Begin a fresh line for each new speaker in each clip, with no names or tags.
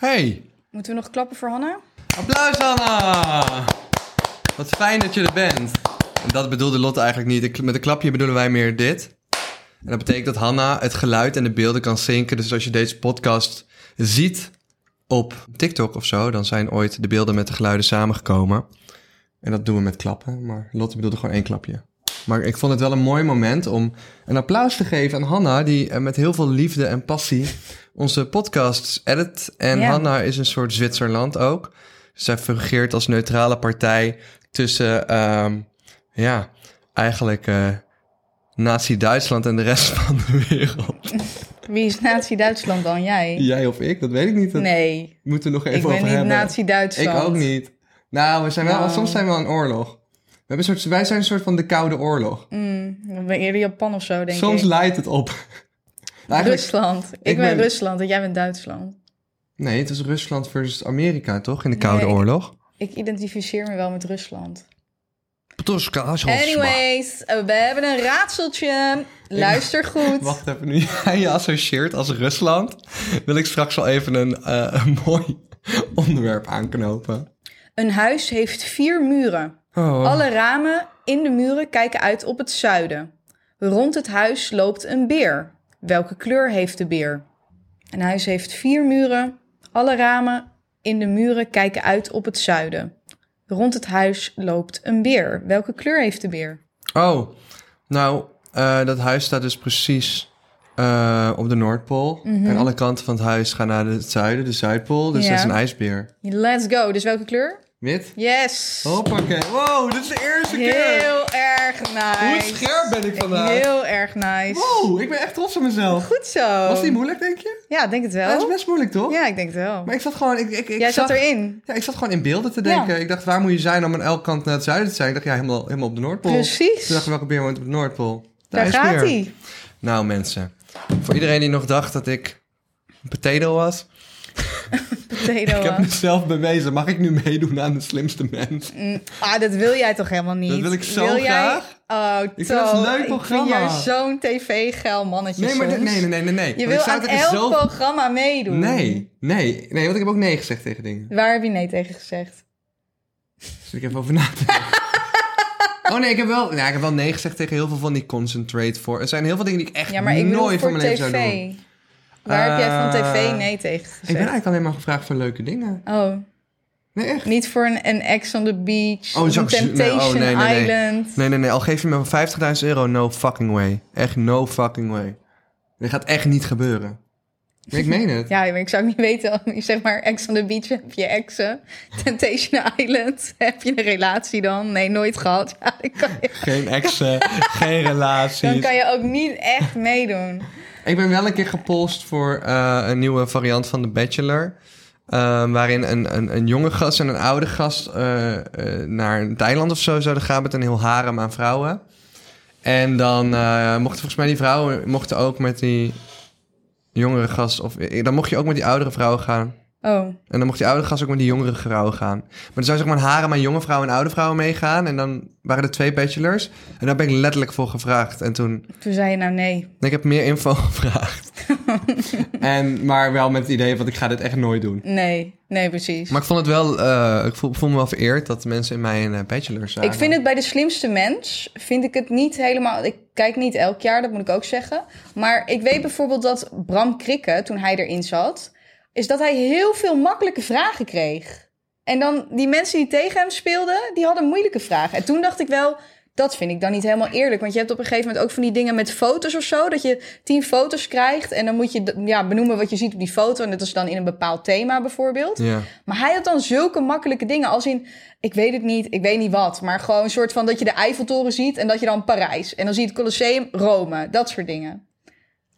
Hey,
Moeten we nog klappen voor Hanna?
applaus Anna! Wat fijn dat je er bent. En dat bedoelde Lotte eigenlijk niet. Ik- Met een klapje bedoelen wij meer dit. En dat betekent dat Hanna het geluid en de beelden kan zinken. Dus als je deze podcast ziet op TikTok of zo, dan zijn ooit de beelden met de geluiden samengekomen. En dat doen we met klappen. Maar Lotte bedoelde gewoon één klapje. Maar ik vond het wel een mooi moment om een applaus te geven aan Hanna, die eh, met heel veel liefde en passie onze podcasts edit. En
Ja.
Hanna is een soort Zwitserland ook. Zij fungeert als neutrale partij tussen, ehm, ja, eigenlijk eh, Nazi-Duitsland en de rest van de wereld.
Wie is Nazi-Duitsland dan? Jij?
Jij of ik, dat weet ik niet. Dat
Nee,
moeten we nog even
ik ben
over
niet
hebben.
Nazi-Duitsland.
Ik ook niet. Nou, we zijn wel,
Nou.
soms zijn we wel een oorlog. We hebben een soort, wij zijn een soort van de Koude Oorlog.
Mm, ik ben eerder Japan of zo, denk
soms
ik.
leidt het op. Eigenlijk,
Rusland. Ik,
ik
ben
ben-
Rusland en jij bent Duitsland.
nee, het is Rusland versus Amerika, toch? In de Koude
Nee, ik-
Oorlog.
Ik identificeer me wel met
Oh,
Rusland.
Anyway.
Anyways, eh, we hebben een raadseltje. Luister goed.
Wacht even, nu jij je associeert als Rusland, wil ik straks wel even een, eh, een mooi onderwerp aanknopen.
Een huis heeft vier muren.
Oh.
Alle ramen in de muren kijken uit op het zuiden. Rond het huis loopt een beer. Welke kleur heeft de beer? Een huis heeft vier muren. Alle ramen in de muren kijken uit op het zuiden. Rond het huis loopt een beer. Welke kleur heeft de beer?
Oh, nou, eh, dat huis staat dus precies eh, op de Noordpool.
Mhm.
En alle kanten van het huis gaan naar het zuiden, de Zuidpool. Dus
Ja.
dat is een ijsbeer.
Let's go. Dus welke kleur?
Wit?
Yes.
Hoppakee. Wow, dit is de eerste Oh, keer.
Heel erg
Hoe
nice.
scherp ben ik vandaag?
Heel erg nice.
Wow, ik ben echt trots op mezelf.
Goed zo.
Was die moeilijk, denk je?
Ja, ik denk het
Ja, dat is
wel.
best moeilijk, toch?
Ja, ik denk het wel.
Maar ik zat gewoon... Ik, ik, ik
Jij
zag,
zat erin.
Ja, ik zat gewoon in beelden te denken. Ik dacht, waar moet je zijn om aan elke kant naar het zuiden te zijn? Ik dacht, ja, helemaal, helemaal op de Noordpool.
Precies.
Toen dacht ik, welke beer woont op de Noordpool? De
Daar
ijsbeer.
gaat hij.
Nou mensen, voor iedereen die nog dacht dat ik een potato was. Ik heb mezelf bewezen. Mag ik nu meedoen aan de slimste mens?
Ah, dat wil jij toch helemaal niet?
Dat wil ik zo
jij-
graag.
Oh,
vind
Toon,
dat een leuk
ik vind
programma.
jou zo'n tv-geil mannetje
Nee, maar dit-
soms.
nee, nee, nee, nee. nee.
Je
Want ik
wil
zou
aan
het
elk
ook zo-
programma meedoen.
Nee, nee, nee, want ik heb ook nee gezegd tegen dingen.
Waar heb je nee tegen gezegd?
Dus ik heb over na te denken. Oh nee, ik heb, wel, nou, ik heb wel nee gezegd tegen heel veel van die concentrate voor. Er zijn heel veel dingen die ik echt
Ja, maar ik bedoel
nooit
voor
van mijn leven
tv.
zou doen.
Waar heb jij van
Eh,
tv nee tegen gezegd?
Ik ben eigenlijk alleen maar gevraagd voor leuke dingen.
Oh,
Nee, echt.
niet voor een, een Ex on the Beach,
Oh,
of een
zou ik- nee, oh,
Temptation
nee, nee, nee.
Island.
Nee, nee, nee. Al geef je me 50.000 euro, no fucking way. Echt no fucking way. Dit gaat echt niet gebeuren. Nee, ik meen het.
Ja, maar ik zou niet weten, je zeg maar Ex on the Beach heb je exen. Temptation Island heb je een relatie dan? Nee, nooit gehad. Ja, dan kan je
Geen exen, geen relaties.
Dan kan je ook niet echt meedoen.
Ik ben wel een keer gepolst voor eh, een nieuwe variant van The Bachelor. Ehm, waarin een, een, een jonge gast en een oude gast eh, eh, naar een Thailand of zo zouden gaan met een heel harem aan vrouwen. En dan eh, mochten volgens mij die vrouwen mochten ook met die jongere gast. Of, eh, dan mocht je ook met die oudere vrouwen gaan.
Oh,
En dan mocht die oude gast ook met die jongere vrouwen gaan. Maar er zou zeg maar een harem aan jonge vrouwen en oude vrouwen meegaan. En dan waren er twee bachelors. En daar ben ik letterlijk voor gevraagd. En toen
toen zei je nou nee.
ik heb meer info gevraagd. en, maar wel met het idee van ik ga dit echt nooit doen.
Nee, nee, precies.
Maar ik vond het wel, eh, ik voel, voel me wel vereerd dat mensen in mij een eh, bachelor zijn.
ik vind het bij de slimste mens, vind ik het niet helemaal... Ik kijk niet elk jaar, dat moet ik ook zeggen. Maar ik weet bijvoorbeeld dat Bram Krikke, toen hij erin zat... is dat hij heel veel makkelijke vragen kreeg. En dan die mensen die tegen hem speelden, die hadden moeilijke vragen. En toen dacht ik wel, dat vind ik dan niet helemaal eerlijk. Want je hebt op een gegeven moment ook van die dingen met foto's of zo. Dat je tien foto's krijgt en dan moet je d- ja, benoemen wat je ziet op die foto. En dat is dan in een bepaald thema bijvoorbeeld.
Ja.
Maar hij had dan zulke makkelijke dingen als in... ik weet het niet, ik weet niet wat. Maar gewoon een soort van dat je de Eiffeltoren ziet... en dat je dan Parijs. En dan zie je het Colosseum, Rome. Dat soort dingen.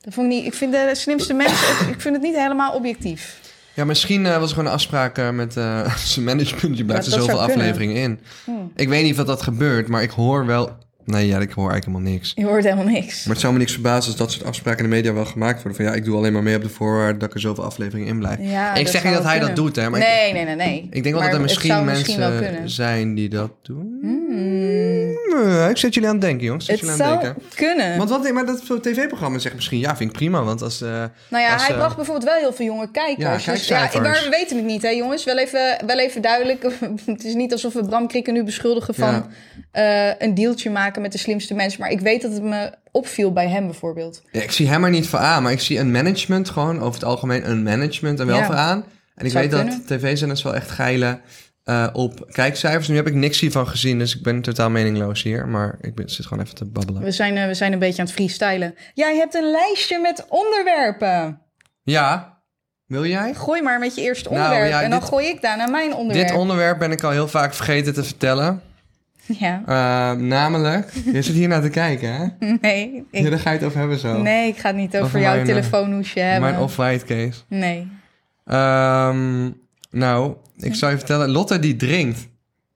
Dat vond ik, niet, ik vind de slimste mensen... ik vind het niet helemaal objectief.
Ja, misschien eh, was er gewoon een afspraak eh, met eh, zijn management. Je blijft er
dat
zoveel
zou kunnen. Hmm.
afleveringen in. Ik weet niet wat dat gebeurt, maar ik hoor wel... Nee, ja, ik hoor eigenlijk helemaal niks.
Je hoort helemaal niks.
Maar het zou me niks verbazen als dat soort afspraken in de media wel gemaakt worden. Van ja, ik doe alleen maar mee op de voorwaarde dat ik er zoveel afleveringen in blijf.
Ja,
ik zeg
zou
niet dat
wel
hij dat
kunnen.
doet, hè. Maar ik-
nee, nee, nee, nee.
Ik denk wel
Maar
dat er
het
misschien
zou
mensen
wel kunnen.
zijn die dat doen. eh, ik zet jullie aan het denken, jongens. Ik
Hmm. Het
zet jullie aan het
zou
denken.
kunnen.
Want wat, maar dat tv-programma zegt misschien, ja, vind ik prima. Want als, eh,
nou ja,
als,
hij
eh,
bracht bijvoorbeeld wel heel veel jonge kijkers.
Ja,
Dus
kijkcijfers.
ja, maar we weten het niet, hè jongens. Wel even, wel even duidelijk. het is niet alsof we Bram Krikken nu beschuldigen van
Ja.
eh, een deeltje maken met de slimste mensen. Maar ik weet dat het me opviel bij hem bijvoorbeeld.
ja, ik zie hem er niet voor aan, maar ik zie een management gewoon, over het algemeen een management er wel
Ja.
voor aan. En ik
Zou
weet
kunnen.
dat tv-zenders wel echt geilen eh, op kijkcijfers. Nu heb ik niks hiervan gezien, dus ik ben totaal meningloos hier. Maar ik ben, zit gewoon even te babbelen.
We zijn, eh, we zijn een beetje aan het freestylen. Jij hebt een lijstje met onderwerpen.
Ja, wil jij?
Gooi maar met je eerste
Nou,
onderwerp.
ja,
en dan
dit-
gooi ik daarna mijn onderwerp.
Dit onderwerp ben ik al heel vaak vergeten te vertellen.
ja,
Eh, namelijk, je zit hier naar te kijken, hè?
nee.
Ja,
Ik,
daar ga je het over hebben zo.
nee, ik ga het niet over
Over
jouw
mijn, eh,
telefoonhoesje hebben.
Mijn off-white case.
Nee.
Ehm, nou, ik zou je vertellen, Lotte die drinkt.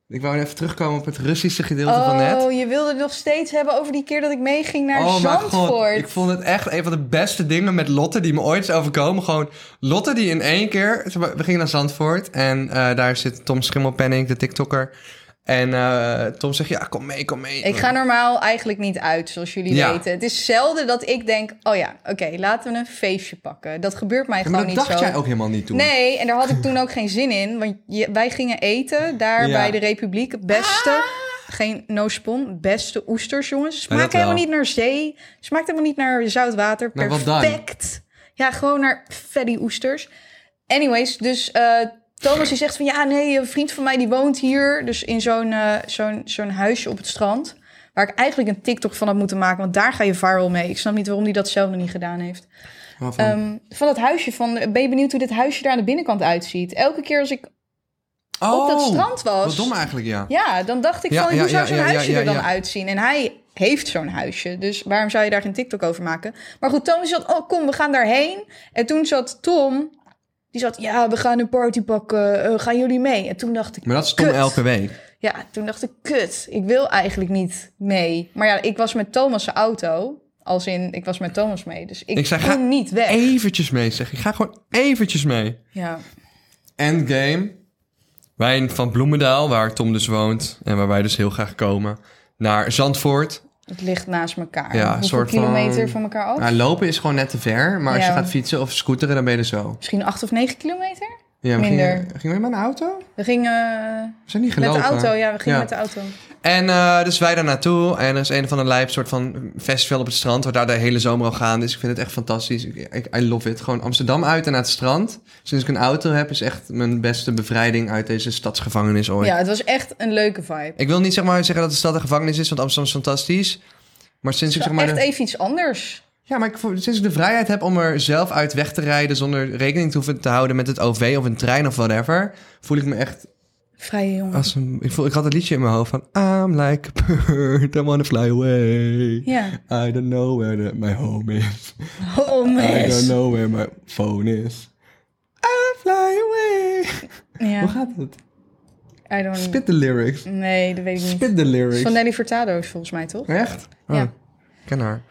Ik wou even terugkomen op het Russische gedeelte van net. Oh
Oh, je wilde het nog steeds hebben over die keer dat ik meeging naar
mijn
Zandvoort.
ik vond het echt een van de beste dingen met Lotte die me ooit is overkomen. Gewoon Lotte die in één keer, zeg maar, we gingen naar Zandvoort en eh, daar zit Tom Schimmelpenning, de TikToker. En eh, Tom zegt, ja, kom mee, kom mee.
Ik ga normaal eigenlijk niet uit, zoals jullie
Ja.
weten. Het is zelden dat ik denk, oh ja, oké, laten we een feestje pakken. Dat gebeurt mij
Ja,
gewoon
maar
niet
dat
zo.
dacht jij ook helemaal niet toen.
Nee, en daar had ik toen ook geen zin in. Want je- wij gingen eten daar
Ja.
bij de Republiek. Het Beste, geen no spon, beste oesters, jongens. Smaakt
dat wel.
helemaal niet naar zee. Smaakt helemaal niet naar zout water.
Naar wat
Perfect.
dan?
Ja, gewoon naar fatty oesters. Anyways, dus eh, Thomas die zegt van... Ja, nee, een vriend van mij die woont hier. Dus in zo'n eh, zo'n zo'n huisje op het strand. Waar ik eigenlijk een TikTok van had moeten maken. Want daar ga je viral mee. Ik snap niet waarom hij dat zelf nog niet gedaan heeft.
Maar van-
Ehm, van dat huisje van, eh, ben je benieuwd hoe dit huisje daar aan de binnenkant uitziet? Elke keer als ik op dat
Oh,
strand was,
Wat dom eigenlijk, ja.
ja, dan dacht ik
Ja,
van,
ja,
hoe zou
ja,
zo'n
ja, ja,
huisje
ja,
er dan
ja.
uitzien? En hij heeft zo'n huisje, dus waarom zou je daar geen TikTok over maken? Maar goed, Tom zat, oh kom, we gaan daarheen. En toen zat Tom, die zat, ja, we gaan een party pakken, eh, gaan jullie mee? En toen dacht ik,
Maar dat is Tom
Kut.
elke week.
ja, toen dacht ik, kut, ik wil eigenlijk niet mee. Maar ja, ik was met Thomas' auto, als in, ik was met Thomas mee, dus ik,
Ik zei,
kon
ga
niet weg.
Eventjes mee, zeg. Ik ga gewoon eventjes mee.
Ja.
Endgame. Wij van Bloemendaal, waar Tom dus woont en waar wij dus heel graag komen, naar Zandvoort.
Het ligt naast elkaar.
Ja,
Hoeveel
een soort van-
kilometer van elkaar af?
Nou, lopen is gewoon net te ver, maar als
Ja.
je gaat fietsen of scooteren, dan ben je er zo.
Misschien acht of negen kilometer?
Ja, we
Minder.
Gingen, gingen we met een auto?
We gingen
We zijn niet
eh, met
gelopen.
de auto, ja, we gingen
Ja.
met de auto.
En eh, dus wij daar naartoe. En er is een van de lijp soort van festival op het strand. Waar daar de hele zomer al gaan. Dus ik vind het echt fantastisch. Ik, ik- I love it. Gewoon Amsterdam uit en naar het strand. Sinds ik een auto heb, is echt mijn beste bevrijding uit deze stadsgevangenis ooit.
Ja, het was echt een leuke vibe.
Ik wil niet zeg maar zeggen dat de stad een gevangenis is, want Amsterdam is fantastisch. Maar sinds ik zeg maar.
echt
de-
even iets anders.
Ja, maar ik, voel- sinds ik de vrijheid heb om er zelf uit weg te rijden zonder rekening te hoeven te houden met het OV of een trein of whatever, voel ik me echt
Vrije jongen.
als een. Ik, voel, ik had dat liedje in mijn hoofd van I'm like a bird, I wanna fly away.
Ja.
I don't know where the- my home is.
Oh,
I don't
mes.
know where my phone is. I fly away. Hoe
Ja,
gaat het?
I don't
Spit the lyrics.
Nee, dat weet ik niet.
Spit the lyrics.
Van Nelly Furtado is volgens mij, toch?
Echt?
Ja.
Oh, ken haar.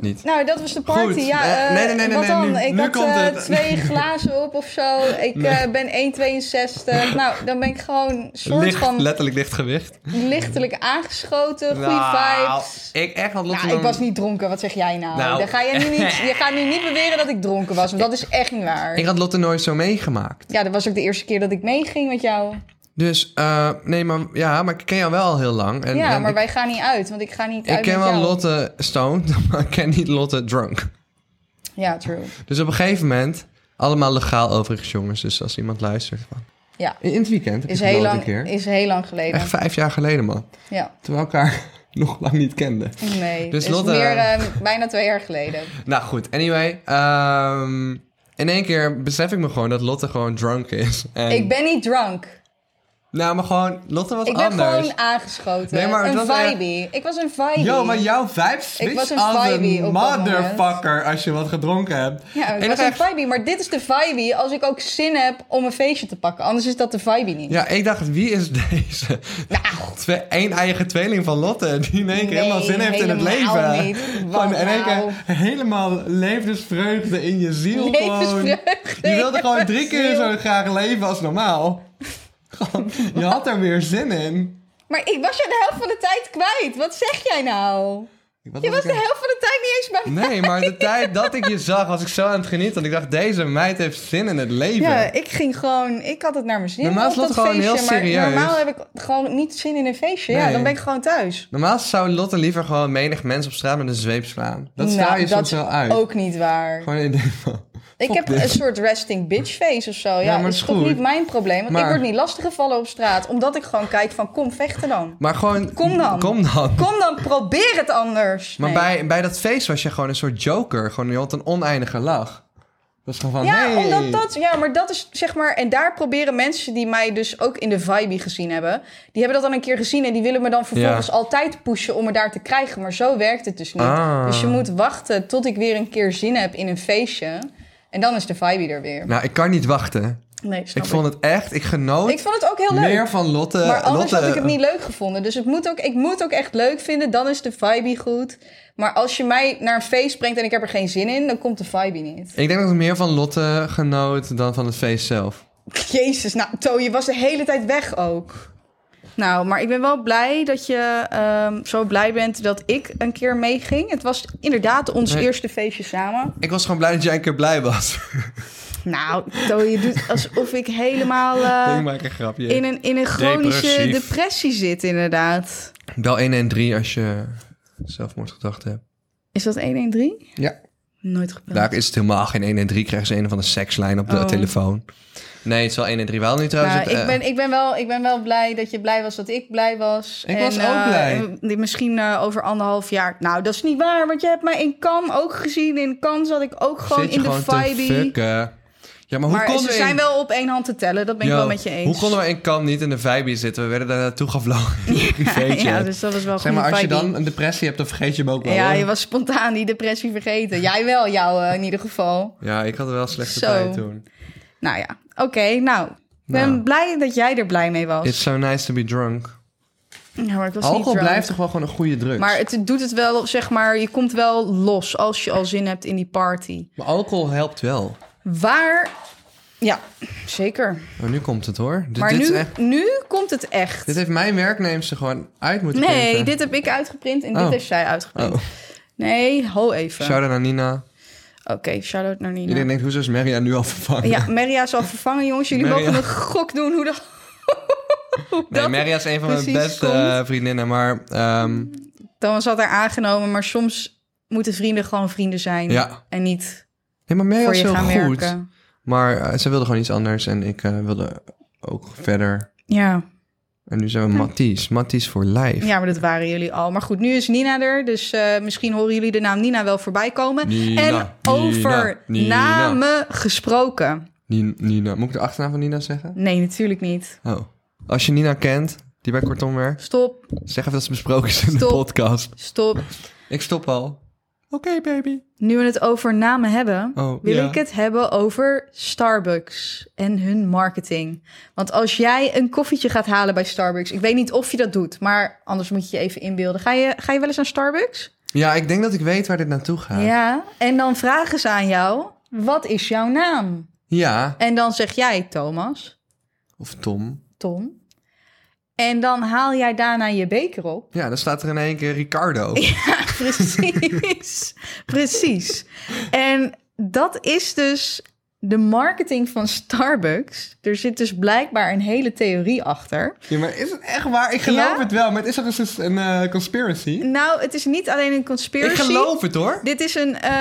Niet.
Nou, dat was de party.
Goed.
Ja,
Eh,
eh,
nee, nee, nee, nee,
wat
nee,
dan?
nu-
ik
nu
had
komt
eh,
het.
twee glazen op of zo. Ik eh, ben 1,62. Nou, dan ben ik gewoon soort
Licht,
van
letterlijk lichtgewicht.
lichtelijk aangeschoten. Goede
Nou,
vibes.
Ik echt had Lotte
Nou, ik
dan-
was niet dronken. Wat zeg jij nou?
Nou.
Dan ga je, nu niet, je gaat nu niet beweren dat ik dronken was. Want dat is echt niet
Ik
waar.
had Lotte nooit zo meegemaakt.
Ja, dat was ook de eerste keer dat ik meeging met jou.
Dus, eh, nee, maar ja, maar ik ken jou wel al heel lang. En,
ja,
en
maar
ik,
wij gaan niet uit. Want ik ga niet
ik
uit
ken
met
wel
jou.
Lotte stoned, maar ik ken niet Lotte drunk.
Ja, true.
Dus op een gegeven moment, allemaal legaal overigens jongens. Dus als iemand luistert. Van.
Ja.
In, in het weekend heb
Is
ik geloten
heel, lang,
een keer.
is heel lang geleden.
Echt vijf jaar geleden, man.
Ja.
Terwijl we elkaar nog lang niet kenden.
Nee.
Dus
is
Lotte-
meer eh, bijna twee jaar geleden.
Nou goed, anyway. ehm, in één keer besef ik me gewoon dat Lotte gewoon drunk is. En,
Ik ben niet drunk.
Nou, maar gewoon, Lotte was
Ik ben
anders.
gewoon aangeschoten.
Nee, maar het
een
was echt-
vibey. Ik was een vibey.
Yo, maar jouw vibe switch
was een
als
vibey
een
op dat moment.
motherfucker als je wat gedronken hebt.
Ja,
En
ik
dan
was
ga
een
je-
vibey. Maar dit is de vibey als ik ook zin heb om een feestje te pakken. Anders is dat de vibey niet.
Ja, ik dacht, wie is deze?
Nou.
Twee, één eigen tweeling van Lotte, die in één keer
Nee,
helemaal zin heeft in het
helemaal
leven.
niet. nou?
Gewoon in één
Wauw.
keer helemaal levensvreugde in je ziel. Gewoon.
Levensvreugde
Je wilde gewoon drie
in je
keer
ziel.
zo graag leven als normaal. Gewoon, je had er weer zin in.
Maar ik was je de helft van de tijd kwijt. Wat zeg jij nou?
Ik- wat
Je was
ik
de
aan-
helft van de tijd niet eens bij
Nee, maar de tijd dat ik je zag, was ik zo aan het genieten. Want ik dacht, deze meid heeft zin in het leven.
Ja, ik ging gewoon... Ik had het naar mijn zin
Normaal
op
is Lotte
dat
gewoon
feestje,
heel
maar
serieus.
normaal heb ik gewoon niet zin in een feestje. Ja,
Nee.
dan ben ik gewoon thuis.
Normaal zou Lotte liever gewoon menig mens op straat met een zweep slaan. Dat
Nou,
straal je
dat
soms wel uit.
Ook niet waar.
Gewoon in de...
Ik
Fuck
heb
dit.
een soort resting bitch face of zo. Ja,
maar
dat
het
is
is
toch
goed.
niet mijn probleem. Want ik
Maar-
word niet lastiggevallen op straat. Omdat ik gewoon kijk van kom vechten dan.
Maar gewoon...
Kom dan.
Kom dan.
Kom dan, probeer het anders.
Maar
Nee.
bij, bij dat feest was je gewoon een soort joker. Gewoon, je had een oneindige lach. Dat was gewoon van,
Ja,
nee.
omdat dat, ja, maar dat is zeg maar. En daar proberen mensen die mij dus ook in de vibe gezien hebben. Die hebben dat dan een keer gezien en die willen me dan vervolgens
Ja.
altijd pushen om me daar te krijgen. Maar zo werkt het dus niet.
Ah.
Dus je moet wachten tot ik weer een keer zin heb in een feestje. En dan is de vibe er weer.
Nou, ik kan niet wachten.
Nee, snap
Ik vond het echt... Ik genoot
Nou, ik vond het ook heel leuk.
meer van Lotte.
Maar anders
Lotte,
had ik het niet leuk gevonden. Dus het moet ook, ik moet ook echt leuk vinden. Dan is de vibe goed. Maar als je mij naar een feest brengt en ik heb er geen zin in, dan komt de vibe niet.
Ik denk dat ik meer van Lotte genoot dan van het feest zelf.
Jezus, nou, To, je was de hele tijd weg ook. Nou, maar ik ben wel blij dat je ehm, zo blij bent dat ik een keer meeging. Het was inderdaad ons
Nee.
eerste feestje samen.
Ik was gewoon blij dat jij een keer blij was.
Nou, To, je doet alsof ik helemaal
ik
eh,
maak een grapje.
in, een, in een chronische
Depressief.
depressie zit, inderdaad.
Bel 1 en 3 als je zelfmoordgedachten hebt.
Is dat 113?
Ja.
Nooit gebeld.
Daar is het helemaal geen 1 en 3. Krijgen ze een van de sekslijn op de
Oh.
telefoon. Nee, het is wel 1 en 3. Wel nu trouwens.
Nou,
het,
ik,
eh,
ben, ik, ben wel, ik ben wel blij dat je blij was dat ik blij was.
Ik was ook
eh,
blij.
en die Misschien eh, over anderhalf jaar. Nou, dat is niet waar, want je hebt mij in Cannes ook gezien. In Cannes zat ik ook gewoon
zit je
in de
gewoon te
vibe.
fucken. Ja, maar hoe
Maar
konden
ze
we
zijn
in-
wel op één hand te tellen, dat ben ik
Yo,
wel met je eens.
Hoe konden we in Kam niet in de vibe zitten? We werden daar naartoe gevlogen. in een privéjet.
Ja, dus dat was wel
zeg
goede
maar, als je
vibe.
dan een depressie hebt, dan vergeet je hem ook wel.
Ja,
hoor.
je was spontaan die depressie vergeten. Jij wel, jou eh, in ieder geval.
Ja, ik had wel slechte
Zo.
tijd toen.
Nou ja, oké. nou, ik ben
Nou.
blij dat jij er blij mee was.
It's so nice to be drunk.
Ja, maar ik was niet
Alcohol
drunk.
blijft toch wel gewoon een goede druk.
Maar
Maar,
het doet het wel, zeg maar, je komt wel los als je al zin hebt in die party.
alcohol helpt wel.
Waar, ja, zeker.
Maar nu komt het hoor. Dit,
maar
dit, is
nu,
echt-
nu komt het echt.
dit heeft mijn werknemster gewoon uit moeten
nee,
printen.
dit heb ik uitgeprint en
Oh.
dit heeft zij uitgeprint.
Oh.
Nee, ho even.
Shout-out naar Nina.
Oké, shout-out naar Nina.
Iedereen denkt, hoezo is Maria nu al vervangen?
Ja, Meria is al vervangen, jongens. Jullie
Meria.
mogen een gok doen hoe dat... hoe
nee,
dat-
Maria is een van mijn
precies
beste
komt.
eh, vriendinnen, maar ehm,
Dan zat haar aangenomen, maar soms moeten vrienden gewoon vrienden zijn.
Ja.
En niet
nee, maar Maria
voor
is
je
heel
gaan
goed.
werken.
Maar eh, ze wilde gewoon iets anders en ik eh, wilde ook verder.
Ja.
En nu zijn we Matties. Matties voor life.
Hm. Ja, maar dat waren jullie al. Maar goed, nu is Nina er. Dus eh, misschien horen jullie de naam Nina wel voorbij komen.
Nina,
en over
Nina, Nina.
namen gesproken.
Ni- Nina. Moet ik de achternaam van Nina zeggen?
Nee, natuurlijk niet.
Oh. Als je Nina kent, die bij Kortom werkt,
Stop,
zeg even dat ze besproken is in
Stop.
de podcast.
stop.
Ik stop al. Oké, baby.
Nu we het over namen hebben,
Oh,
wil
ja.
ik het hebben over Starbucks en hun marketing. Want als jij een koffietje gaat halen bij Starbucks, ik weet niet of je dat doet, maar anders moet je je even inbeelden. Ga je, ga je wel eens naar Starbucks?
Ja, ik denk dat ik weet waar dit naartoe gaat. Ja.
ja. En dan vragen ze aan jou, wat is jouw naam? En dan zeg jij Thomas.
Of Tom.
ton. En dan haal jij daarna je beker op.
Ja, dan staat er in één keer Ricardo.
Precies. Precies. En dat is dus de marketing van Starbucks. Er zit dus blijkbaar een hele theorie achter.
Ja, maar is het echt waar? Ik geloof
Ja?
het wel, maar het is toch eens een eh, conspiracy?
Nou, het is niet alleen een conspiracy.
Ik geloof het hoor.
Dit is een eh,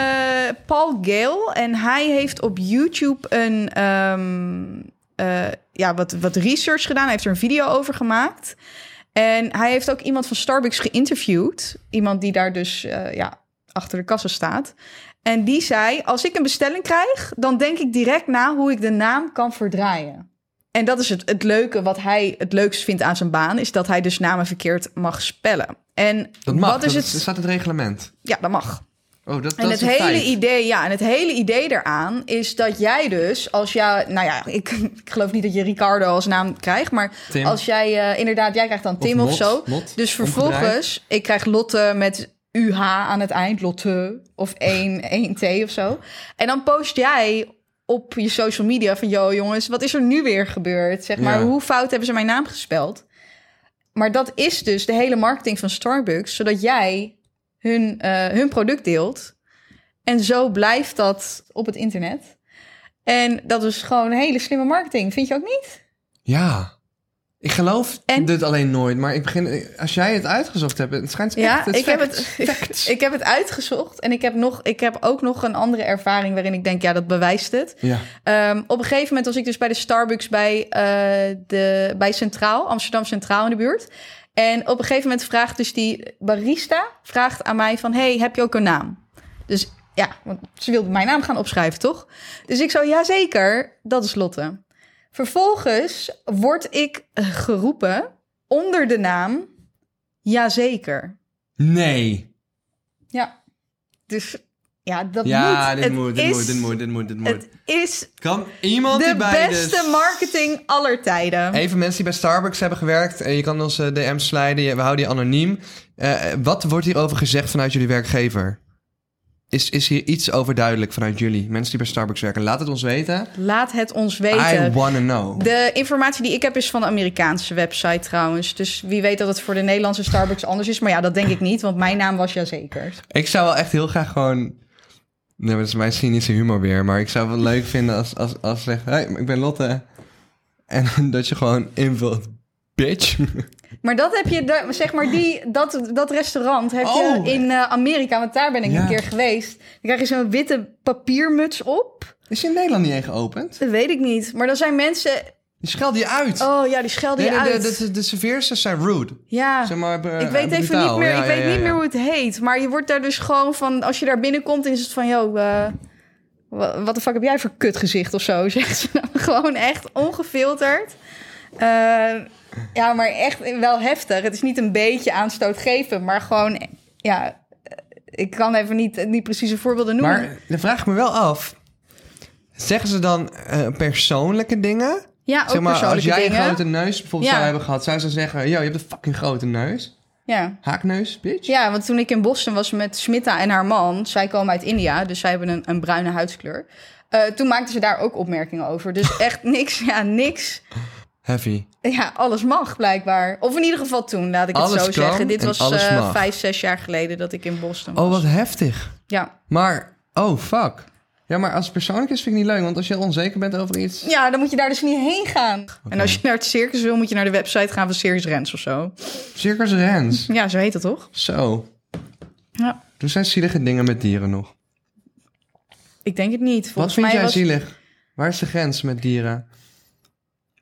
Paul Gale en hij heeft op YouTube een ehm, eh, ja, wat, wat research gedaan. Hij heeft er een video over gemaakt. En hij heeft ook iemand van Starbucks geïnterviewd. Iemand die daar dus eh, ja, achter de kassa staat. En die zei, als ik een bestelling krijg, dan denk ik direct na hoe ik de naam kan verdraaien. En dat is het, het leuke, wat hij het leukst vindt aan zijn baan, is dat hij dus namen verkeerd mag spellen. En
Dat mag.
wat is
dat
het?
staat in het reglement.
Ja, dat mag.
Oh, dat,
En
dat is
het,
een
hele
feit.
idee, ja, en het hele idee daaraan is dat jij dus, als jij, nou ja, ik, ik geloof niet dat je Ricardo als naam krijgt, maar
Tim.
als jij eh, inderdaad, jij krijgt dan Tim of,
Lot,
zo.
Lot,
dus vervolgens,
omgedraaid.
ik krijg Lotte met UH aan het eind, Lotte of 1, 1T of zo. En dan post jij op je social media van, yo jongens, wat is er nu weer gebeurd? Zeg maar,
Ja.
hoe fout hebben ze mijn naam gespeld? Maar dat is dus de hele marketing van Starbucks, zodat jij hun, eh, hun product deelt. En zo blijft dat op het internet. En dat is gewoon hele slimme marketing, vind je ook niet?
Ja. Ik geloof
En?
dit alleen nooit, maar ik begin, als jij het uitgezocht hebt, het schijnt
Ja,
echt, het is
ik, heb
fact.
het, ik heb het uitgezocht en ik heb, nog, ik heb ook nog een andere ervaring waarin ik denk, ja, dat bewijst het.
Ja.
Ehm, op een gegeven moment was ik dus bij de Starbucks bij, eh, de, bij Centraal, Amsterdam Centraal in de buurt. En op een gegeven moment vraagt dus die barista vraagt aan mij van, hey, heb je ook een naam? Dus ja, want ze wilde mijn naam gaan opschrijven, toch? Dus ik zo, ja zeker, dat is Lotte. Vervolgens word ik eh, geroepen onder de naam Jazeker.
Nee.
Ja, dus ja, dat
Ja,
moet.
dit
Het
moet, dit
is-
moet, dit moet, dit moet, dit moet.
Het is
Kan iemand
de
die bij dus?
beste
de...
marketing aller tijden.
Even mensen die bij Starbucks hebben gewerkt. eh, Je kan ons eh, DM's slijden. je- We houden je anoniem. Eh, eh, wat wordt hierover gezegd vanuit jullie werkgever? Is, is hier iets over duidelijk vanuit jullie? Mensen die bij Starbucks werken. Laat het ons weten.
Laat het ons
I
weten.
wanna know.
De informatie die ik heb is van de Amerikaanse website trouwens. Dus wie weet dat het voor de Nederlandse Starbucks anders is. Maar ja, dat denk ik niet, want mijn naam was jazeker.
Ik zou wel echt heel graag gewoon... Nee, maar dat is mijn cynische humor weer. Maar ik zou het wel leuk vinden als, als, als ze zegt... Hey, ik ben Lotte. En dat je gewoon invult... Bitch.
Maar dat heb je, daar- zeg maar, die, dat, dat restaurant heb
Oh.
je in eh, Amerika, want daar ben ik
Ja.
een keer geweest. Dan krijg je zo'n witte papiermuts op.
Is je in Nederland niet één geopend?
Dat weet ik niet. Maar dan zijn mensen.
Die schelde je uit.
Oh ja, die schelden
Nee,
je
de,
uit.
de, de, de serveersters zijn rude.
ja.
Zeg maar, eh,
Ik weet even
brutaal.
niet meer,
Ja,
ik
ja,
weet
ja,
niet
ja.
meer hoe het heet. Maar je wordt daar dus gewoon van... Als je daar binnenkomt, dan is het van... Yo, eh, wa- wat de fuck heb jij voor kutgezicht of zo? Zegt ze dan gewoon echt ongefilterd. Eh, ja, maar echt wel heftig. Het is niet een beetje aanstoot geven, maar gewoon... Ja, eh, ik kan even niet, niet precieze voorbeelden noemen.
Maar dan vraag ik me wel af. Zeggen ze dan eh, persoonlijke dingen?
ja, ook
zeg maar, als
persoonlijke
jij
dingen.
een grote neus bijvoorbeeld
Ja.
zou hebben gehad, zou ze zeggen: Yo, je hebt een fucking grote neus.
Ja.
Haakneus, bitch.
Ja, want toen ik in Boston was met Smita en haar man, zij komen uit India, dus zij hebben een, een bruine huidskleur. Eh, toen maakten ze daar ook opmerkingen over. Dus echt niks, ja, niks.
Heavy.
Ja, alles mag blijkbaar. Of in ieder geval toen, laat ik het
Alles
zo
kan
zeggen. Dit
en
was
alles
eh,
mag.
vijf, zes jaar geleden dat ik in Boston was.
Oh, wat heftig.
Ja.
Maar, oh fuck. Ja, maar als het persoonlijk is, vind ik niet leuk. Want als je onzeker bent over iets.
ja, dan moet je daar dus niet heen gaan. En als je naar het circus wil, moet je naar de website gaan van Circus Rens of zo.
Circus Rens.
Ja, zo heet dat toch?
Zo.
Ja.
Toen zijn zielige dingen met dieren nog.
Ik denk het niet. Volgens
wat vind
mij
jij
was...
zielig? Waar is de grens met dieren?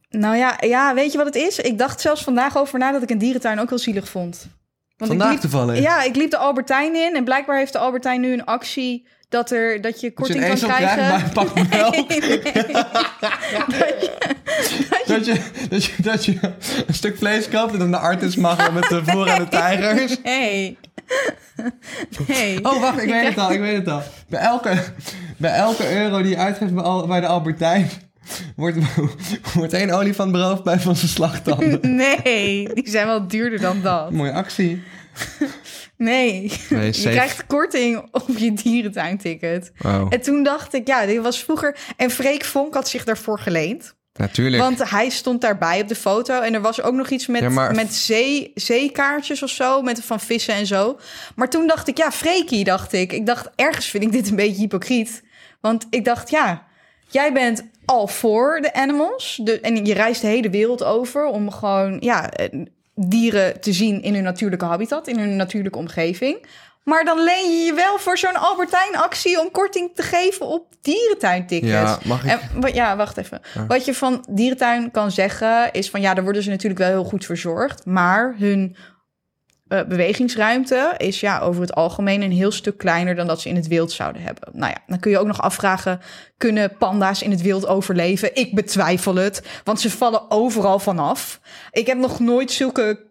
Nou ja, ja, weet je wat het is? Ik dacht zelfs vandaag over na dat ik een dierentuin ook wel zielig vond. Want ik
Vandaag
liep-
toevallig.
Ja, ik liep de Albertijn in en blijkbaar heeft de Albertijn nu een actie dat, er, dat je
Als je
korting
een
kan
ezel
krijgen.
krijgt, maar een pak melk.
Nee, nee.
Dat je, dat, je, dat je een stuk vlees koopt en dan de artist mag met de voor en de tijgers.
Nee. Nee.
Oh, wacht, ik weet het al, ik weet het al. Bij elke, bij elke euro die je uitgeeft bij, Al- bij de Albertijn... Wordt, wordt één olifant beroofd bij van zijn slagtanden.
Nee, die zijn wel duurder dan dat.
Mooie actie.
Nee,
Nee,
je krijgt korting op je dierentuinticket. En toen dacht ik, ja, dit was vroeger... En Freek Vonk had zich daarvoor geleend.
Natuurlijk.
Want hij stond daarbij op de foto. En er was ook nog iets met,
Ja, maar-
met zee, zeekaartjes of zo. Met van vissen en zo. Maar toen dacht ik, ja, Freekie, dacht ik. Ik dacht, ergens vind ik dit een beetje hypocriet. Want ik dacht, ja, jij bent al voor de animals. De, en je reist de hele wereld over om gewoon ja, eh, dieren te zien in hun natuurlijke habitat. In hun natuurlijke omgeving. Maar dan leen je je wel voor zo'n Albertijn-actie om korting te geven op dierentuintickets.
Ja, mag ik-
En Wa- Ja, wacht even. Wat je van dierentuin kan zeggen is van ja, daar worden ze natuurlijk wel heel goed verzorgd, maar hun eh, bewegingsruimte is ja over het algemeen een heel stuk kleiner dan dat ze in het wild zouden hebben. Nou ja, dan kun je ook nog afvragen: kunnen panda's in het wild overleven? Ik betwijfel het, want ze vallen overal vanaf. Ik heb nog nooit zulke,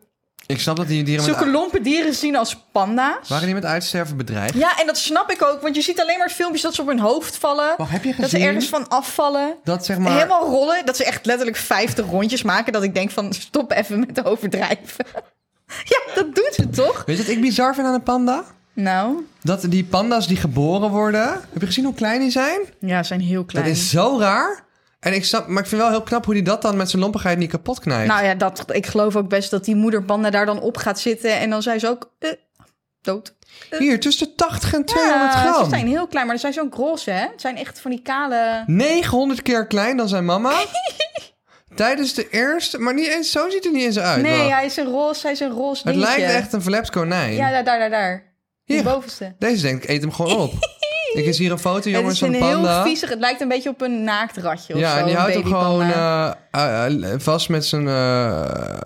ik snap dat die dieren... Met,
zulke lompe dieren gezien als panda's.
waren die met uitsterven bedreigd?
Ja, en dat snap ik ook, want je ziet alleen maar filmpjes dat ze op hun hoofd vallen,
Wacht, heb je
dat ze
gezien?
ergens van afvallen.
Dat zeg maar...
Helemaal rollen, dat ze echt letterlijk 50 rondjes maken. Dat ik denk van stop even met overdrijven. ja, dat doen ze toch?
Weet je wat ik bizar vind aan een panda?
Nou,
Dat die panda's die geboren worden... Heb je gezien hoe klein die zijn?
ja, ze zijn heel klein.
Dat is zo raar. En ik snap, maar ik vind wel heel knap hoe hij dat dan met zijn lompigheid niet kapot knijpt.
Nou ja, dat, ik geloof ook best dat die moederpanda daar dan op gaat zitten. En dan zijn ze ook eh, dood.
Hier, tussen de 80 en 200
Ja, ze
gram.
zijn heel klein, maar ze zijn zo'n roze, hè? Het zijn echt van die kale...
900 keer klein dan zijn mama. Tijdens de eerste, maar niet eens, zo ziet hij niet eens uit.
Nee,
wel.
hij is een roze, hij is een roze
het
dingetje.
lijkt echt een verlept konijn.
Ja, daar, daar, daar. daar. Die
Hier.
bovenste.
Deze denk ik, eet hem gewoon op. ik is hier een foto, jongens, van
het is een
panda.
heel viezig, het lijkt een beetje op een naaktratje of zo.
Ja, en die
een
houdt hem
babypanda.
gewoon eh, eh, eh, vast met zijn, eh,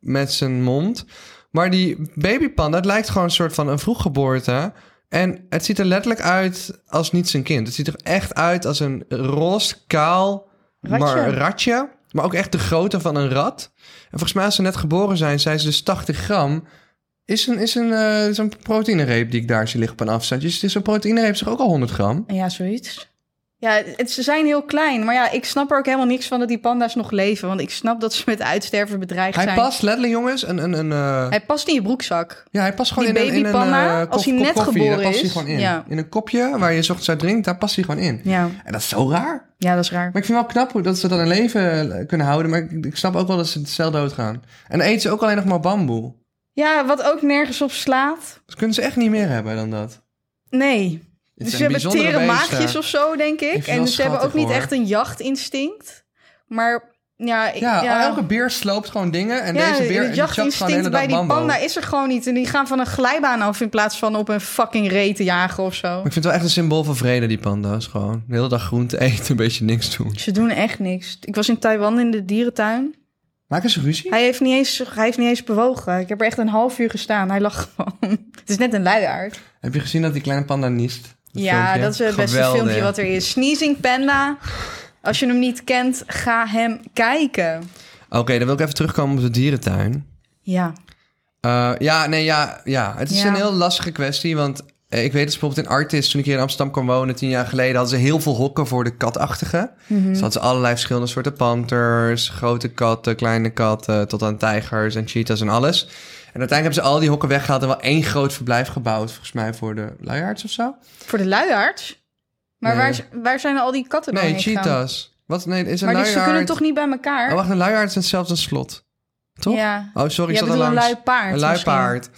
met zijn mond. Maar die babypanda, het lijkt gewoon een soort van een vroeggeboorte. En het ziet er letterlijk uit als niet zijn kind. Het ziet er echt uit als een roze, kaal
Ratje.
Maar, ratje. Maar ook echt de grootte van een rat. En volgens mij als ze net geboren zijn, zijn ze dus 80 gram. Is een, is een, eh, is een proteïnereep die ik daar zie liggen op een afstandje. Dus is een proteïnereep toch ook al 100 gram?
Ja, zoiets. Ja, het, ze zijn heel klein. Maar ja, ik snap er ook helemaal niks van dat die panda's nog leven. Want ik snap dat ze met uitsterven bedreigd
Hij
zijn.
past letterlijk, jongens, een... een, een eh,
Hij past in je broekzak.
Ja, hij past gewoon
Die
in een, in een
babypanna,
eh,
als hij net
koffie,
geboren
daar past
is.
hij gewoon in.
Ja.
In een kopje waar je 's ochtends uit drinkt, daar past hij gewoon in.
Ja,
En dat is zo raar.
ja dat is raar.
Maar ik vind wel knap hoe dat ze dat in leven eh, kunnen houden. Maar ik, ik snap ook wel dat ze snel doodgaan. En dan eten ze ook alleen nog maar bamboe.
Ja, wat ook nergens op slaat.
Dat kunnen ze echt niet meer hebben dan dat.
Nee.
Het
dus
zijn
ze hebben
bijzondere
tere
beesten.
maagjes of zo, denk ik.
vind het
en
wel
ze hebben ook
schattig,
niet
hoor.
echt een jachtinstinct. Maar ja, ik-
Ja, oh,
ja.
elke beer sloopt gewoon dingen. En
Ja,
deze beer
het
die chapt gewoon de hele
jachtinstinct bij
dag
die
bamboe.
panda is er gewoon niet. En die gaan van een glijbaan af in plaats van op een fucking ree te jagen of zo.
Maar ik vind het wel echt een symbool van vrede, die panda's. Gewoon de hele dag groente eten, een beetje niks doen.
Ze doen echt niks. Ik was in Taiwan in de dierentuin.
Maken ze ruzie?
Hij heeft niet eens, hij heeft niet eens bewogen. Ik heb er echt een half uur gestaan. Hij lag gewoon. Het is net een luiaard.
Heb je gezien dat die kleine panda niest? Dat
ja,
filmpje?
dat is het beste
Geweldig.
filmpje wat er is. Sneezing Panda. Als je hem niet kent, ga hem kijken.
Oké, dan wil ik even terugkomen op de dierentuin.
Ja.
Eh, ja, nee, ja, ja. Het is
Ja.
een heel lastige kwestie, want eh, ik weet dat ze bijvoorbeeld in Artis, toen ik hier in Amsterdam kwam wonen, tien jaar geleden, hadden ze heel veel hokken voor de katachtige.
Mhm.
Dus hadden ze allerlei verschillende soorten panters, grote katten, kleine katten, tot aan tijgers en cheetahs en alles. En uiteindelijk hebben ze al die hokken weggehaald en wel één groot verblijf gebouwd, volgens mij voor de luiaards of zo.
Voor de luiaards. Maar
Nee.
waar, waar zijn al die katten dan
Nee,
heen gegaan?
cheetahs. Wat? Nee, is een
Maar die,
luiaard...
ze kunnen toch niet bij elkaar?
Oh, wacht, een luiaard is hetzelfde als een slot. Toch?
Ja.
Oh, sorry, ik
Jij
zat er
bedoelt een
langs.
lui paard
Een lui
misschien.
paard.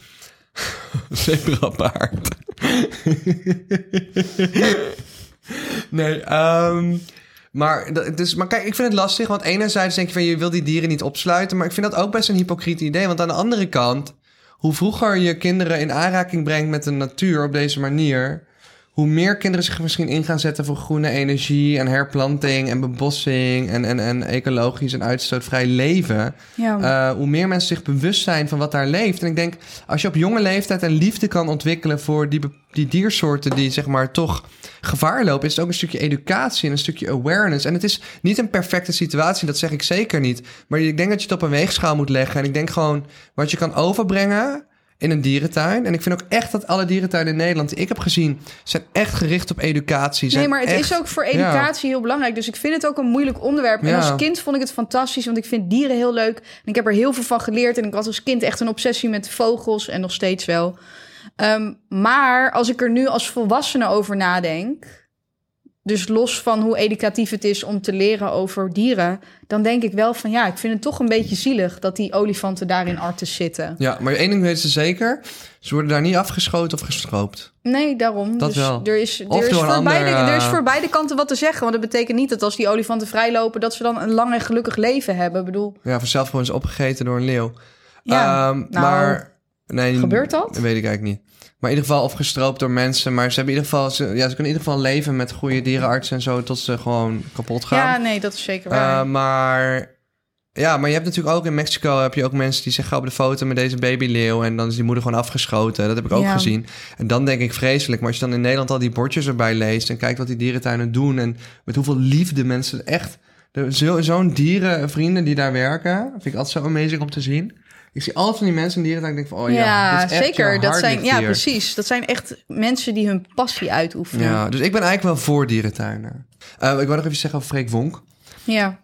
Zebrapaard. nee, ehm, maar, dat- dus, maar kijk, ik vind het lastig. Want enerzijds denk je van je wil die dieren niet opsluiten. Maar ik vind dat ook best een hypocriet idee. Want aan de andere kant, hoe vroeger je kinderen in aanraking brengt met de natuur op deze manier. Hoe meer kinderen zich misschien in gaan zetten voor groene energie en herplanting en bebossing en, en, en ecologisch en uitstootvrij leven.
Ja.
Eh, hoe meer mensen zich bewust zijn van wat daar leeft. En ik denk, als je op jonge leeftijd een liefde kan ontwikkelen voor die, be- die diersoorten die zeg maar toch gevaar lopen, is het ook een stukje educatie en een stukje awareness. En het is niet een perfecte situatie, dat zeg ik zeker niet. Maar ik denk dat je het op een weegschaal moet leggen. En ik denk gewoon wat je kan overbrengen in een dierentuin. En ik vind ook echt dat alle dierentuinen in Nederland die ik heb gezien, zijn echt gericht op educatie.
Nee,
zijn
maar het
echt-
is ook voor
Ja.
educatie heel belangrijk. Dus ik vind het ook een moeilijk onderwerp. En
Ja.
als kind vond ik het fantastisch, want ik vind dieren heel leuk. En ik heb er heel veel van geleerd. En ik had als kind echt een obsessie met vogels en nog steeds wel. Ehm, maar als ik er nu als volwassene over nadenk, dus los van hoe educatief het is om te leren over dieren, dan denk ik wel van ja, ik vind het toch een beetje zielig dat die olifanten daar in Artes zitten.
Ja, maar één ding weten ze zeker. Ze worden daar niet afgeschoten of gestroopt.
Nee, daarom.
Dat
dus
wel.
Er is,
Of
er, is
door een
voor
ander,
beide, er is
eh,
voor beide kanten wat te zeggen. Want dat betekent niet dat als die olifanten vrijlopen... dat ze dan een lang en gelukkig leven hebben. Ik bedoel,
Ja, vanzelf gewoon is opgegeten door een leeuw.
ja,
Ehm,
nou,
maar, nee,
gebeurt dat?
Dat weet ik eigenlijk niet. Maar in ieder geval, of gestroopt door mensen. Maar ze, hebben in ieder geval, ze, ja, ze kunnen in ieder geval leven met goede dierenartsen en zo... tot ze gewoon kapot gaan.
ja, nee, dat is zeker
Eh,
waar.
maar... Ja, maar je hebt natuurlijk ook in Mexico heb je ook mensen die zeggen... op de foto met deze babyleeuw en dan is die moeder gewoon afgeschoten. Dat heb ik ook
Ja.
gezien. En dan denk ik vreselijk. Maar als je dan in Nederland al die bordjes erbij leest... en kijkt wat die dierentuinen doen... en met hoeveel liefde mensen echt... de- zo- Zo'n dierenvrienden die daar werken... vind ik altijd zo amazing om te zien. Ik zie altijd van die mensen in dieren en ik denk van... oh ja,
ja,
dit is echt
zeker.
jouw
Dat
hart
zijn,
ligt
ja,
hier.
precies. Dat zijn echt mensen die hun passie uitoefenen. Ja.
Ja, dus ik ben eigenlijk wel voor dierentuinen. Eh, ik wil nog even zeggen over Freek Wonk.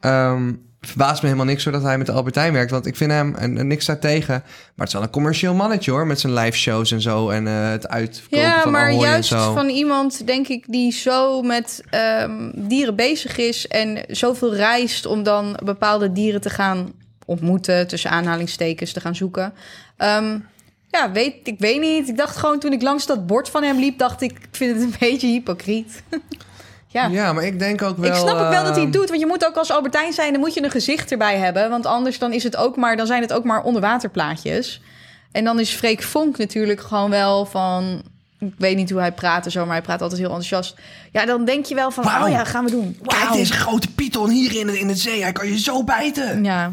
Ehm, verbaast me helemaal niks hoor dat hij met de Albertijn werkt. Want ik vind hem en, en niks daar tegen. Maar het is wel een commercieel mannetje hoor. Met zijn live shows en zo. En eh, het uitverkopen
Ja,
van
maar
Ahoy
juist
en zo.
van iemand, denk ik, die zo met ehm, dieren bezig is en zoveel reist om dan bepaalde dieren te gaan ontmoeten, tussen aanhalingstekens te gaan zoeken. Ehm, ja, weet, ik weet niet. Ik dacht gewoon toen ik langs dat bord van hem liep, dacht ik, ik vind het een beetje hypocriet. ja.
ja. maar ik denk ook wel...
ik snap ook wel dat hij
ehm,
het doet, want je moet ook als Albertijn zijn, dan moet je een gezicht erbij hebben, want anders dan is het ook maar, dan zijn het ook maar onderwaterplaatjes. En dan is Freek Vonk natuurlijk gewoon wel van, ik weet niet hoe hij praat en zo, maar hij praat altijd heel enthousiast. Ja, dan denk je wel van,
Wauw.
oh ja, gaan we doen.
Kijk
Wauw.
deze grote python hier in, het- in het zee. Hij kan je zo bijten.
Ja.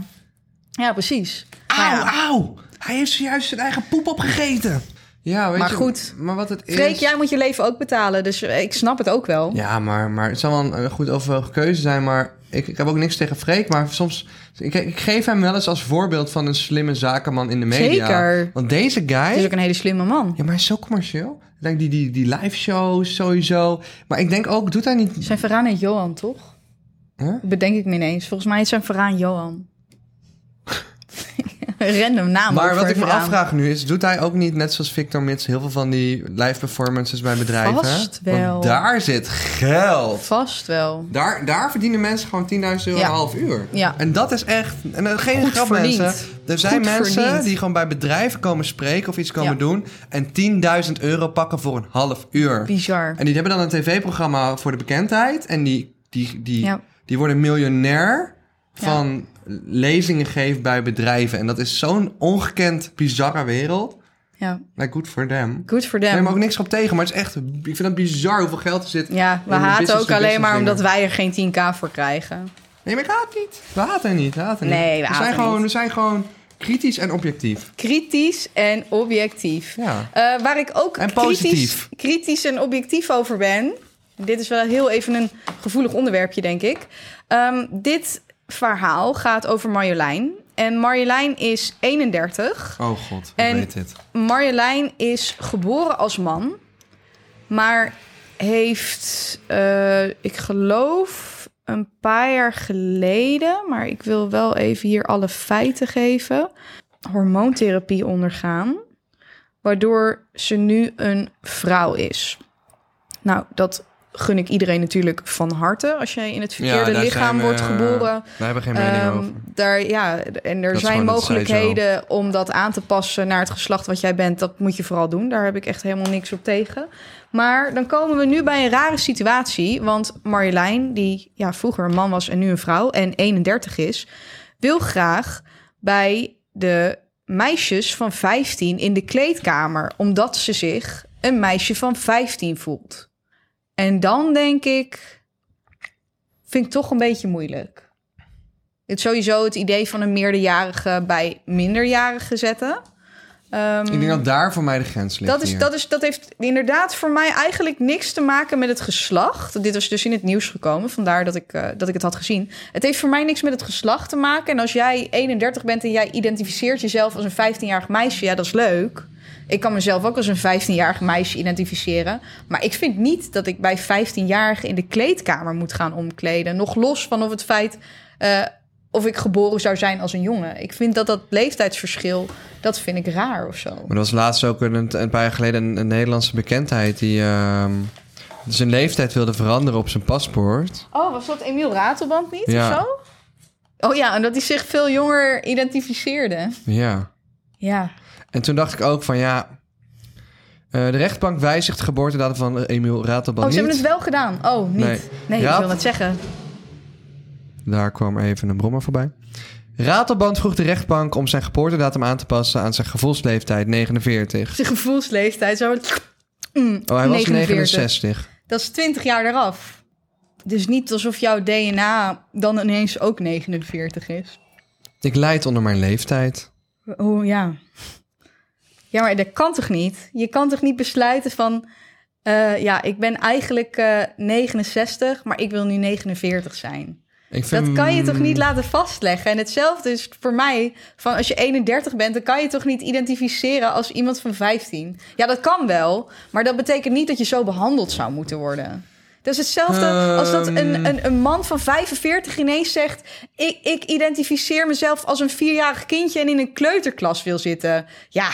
ja, precies. Maar
Auw,
ja.
auw. Hij heeft zojuist zijn eigen poep opgegeten. Ja, weet
Maar
je,
goed.
Maar wat het is...
Freek, jij moet je leven ook betalen, dus eh, ik snap het ook wel.
Ja, maar, maar het zal wel een, een goed overwogen keuze zijn. Maar ik, ik heb ook niks tegen Freek. Maar soms. Ik, ik geef hem wel eens als voorbeeld van een slimme zakenman in de media.
Zeker.
Want deze guy.
Het is ook een hele slimme man.
Ja, maar hij is zo commercieel. Ik denk die, die, die live shows sowieso. Maar ik denk ook, doet hij niet.
Zijn Veraan en Johan, toch?
Huh?
Bedenk ik me ineens. Volgens mij is zijn Veraan Johan. Random naam. ook
Maar
voor
wat ik me
Veraan.
afvraag nu is, doet hij ook niet, net zoals Victor Mits, heel veel van die live performances bij bedrijven?
Vast wel.
Want daar zit geld.
Vast wel.
Daar, daar verdienen mensen gewoon 10.000 euro
Ja.
een half uur.
Ja.
En dat is echt... En eh, geen
Goed
grap,
verdiend.
mensen. Er zijn
Goed
mensen
verdiend.
die gewoon bij bedrijven komen spreken of iets komen
Ja.
doen... en 10.000 euro pakken voor een half uur.
Bizar.
En die hebben dan een tv-programma voor de bekendheid... en die, die, die,
Ja.
die worden miljonair
Ja.
van lezingen geven bij bedrijven. En dat is zo'n ongekend bizarre wereld.
Ja.
Nou, good for them.
Good for
Ik
them.
neem er ook niks op tegen, maar het is echt... Ik vind het bizar hoeveel geld er zit.
ja, we
in de
haten ook
business-to-business
alleen maar
dingen.
omdat wij er geen 10k voor krijgen.
Nee, maar ik haat niet. We haten hem niet. We haten hem
Nee,
niet.
we
we
haten
zijn
hem
gewoon,
niet.
We zijn gewoon kritisch en objectief.
Kritisch en objectief.
Ja.
Eh, waar ik ook
En
kritisch,
positief.
kritisch en objectief over ben. Dit is wel heel even een gevoelig onderwerpje, denk ik. Ehm, dit verhaal gaat over Marjolein. En Marjolein is 31.
Oh god, ik
En-
weet dit.
Marjolein is geboren als man, maar heeft, eh, ik geloof, een paar jaar geleden, maar ik wil wel even hier alle feiten geven, hormoontherapie ondergaan, waardoor ze nu een vrouw is. Nou, dat gun ik iedereen natuurlijk van harte als jij in het verkeerde lichaam wordt geboren.
eh, Daar hebben we geen mening
Ehm,
over.
Daar, ja, en er
is
zijn
gewoon dat
mogelijkheden om dat aan te passen naar het geslacht wat jij bent. Dat moet je vooral doen. Daar heb ik echt helemaal niks op tegen. Maar dan komen we nu bij een rare situatie. Want Marjolein, die ja, vroeger een man was en nu een vrouw en 31 is, wil graag bij de meisjes van 15 in de kleedkamer. Omdat ze zich een meisje van 15 voelt. En dan denk ik, vind ik toch een beetje moeilijk. Het sowieso het idee van een meerderjarige bij minderjarige zetten. Ehm,
Ik denk dat daar voor mij de grens ligt
dat, is,
hier.
dat, is, dat heeft inderdaad voor mij eigenlijk niks te maken met het geslacht. Dit was dus in het nieuws gekomen, vandaar dat ik, eh, dat ik het had gezien. Het heeft voor mij niks met het geslacht te maken. En als jij 31 bent en jij identificeert jezelf als een 15-jarig meisje, ja, dat is leuk. Ik kan mezelf ook als een 15-jarig meisje identificeren. Maar ik vind niet dat ik bij 15-jarigen in de kleedkamer moet gaan omkleden. Nog los van of het feit. eh, of ik geboren zou zijn als een jongen. Ik vind dat dat leeftijdsverschil, dat vind ik raar of zo.
Maar er was laatst ook een, een paar jaar geleden een, een Nederlandse bekendheid... die ehm, zijn leeftijd wilde veranderen op zijn paspoort.
Oh, was dat Emiel Ratelband niet
Ja.
of zo? Oh ja, en dat hij zich veel jonger identificeerde.
Ja.
Ja.
En toen dacht ik ook van ja... eh, de rechtbank wijzigt de geboortedatum van Emiel Ratelband
Oh, ze hebben
niet.
het wel gedaan. Oh, niet.
Nee.
Nee, ik
Raad-
wil dat zeggen.
Daar kwam even een brommer voorbij. Ratelband vroeg de rechtbank om zijn geboortedatum aan te passen aan zijn gevoelsleeftijd 49.
Zijn gevoelsleeftijd. Zo... Mm,
Oh, hij was
49.
69.
Dat is 20 jaar eraf. Dus niet alsof jouw DNA dan ineens ook 49 is.
Ik lijd onder mijn leeftijd.
Oh ja. Ja, maar dat kan toch niet? Je kan toch niet besluiten van... eh, ja, ik ben eigenlijk eh, 69, maar ik wil nu 49 zijn.
Ik vind, Hmm.
Dat kan je toch niet laten vastleggen? En hetzelfde is voor mij, van als je 31 bent, dan kan je toch niet identificeren als iemand van 15? Ja, dat kan wel, maar dat betekent niet dat je zo behandeld zou moeten worden. Dat is hetzelfde als dat
Ehm.
een, een, een man van 45 ineens zegt... Ik, ik identificeer mezelf als een vierjarig kindje en in een kleuterklas wil zitten. Ja,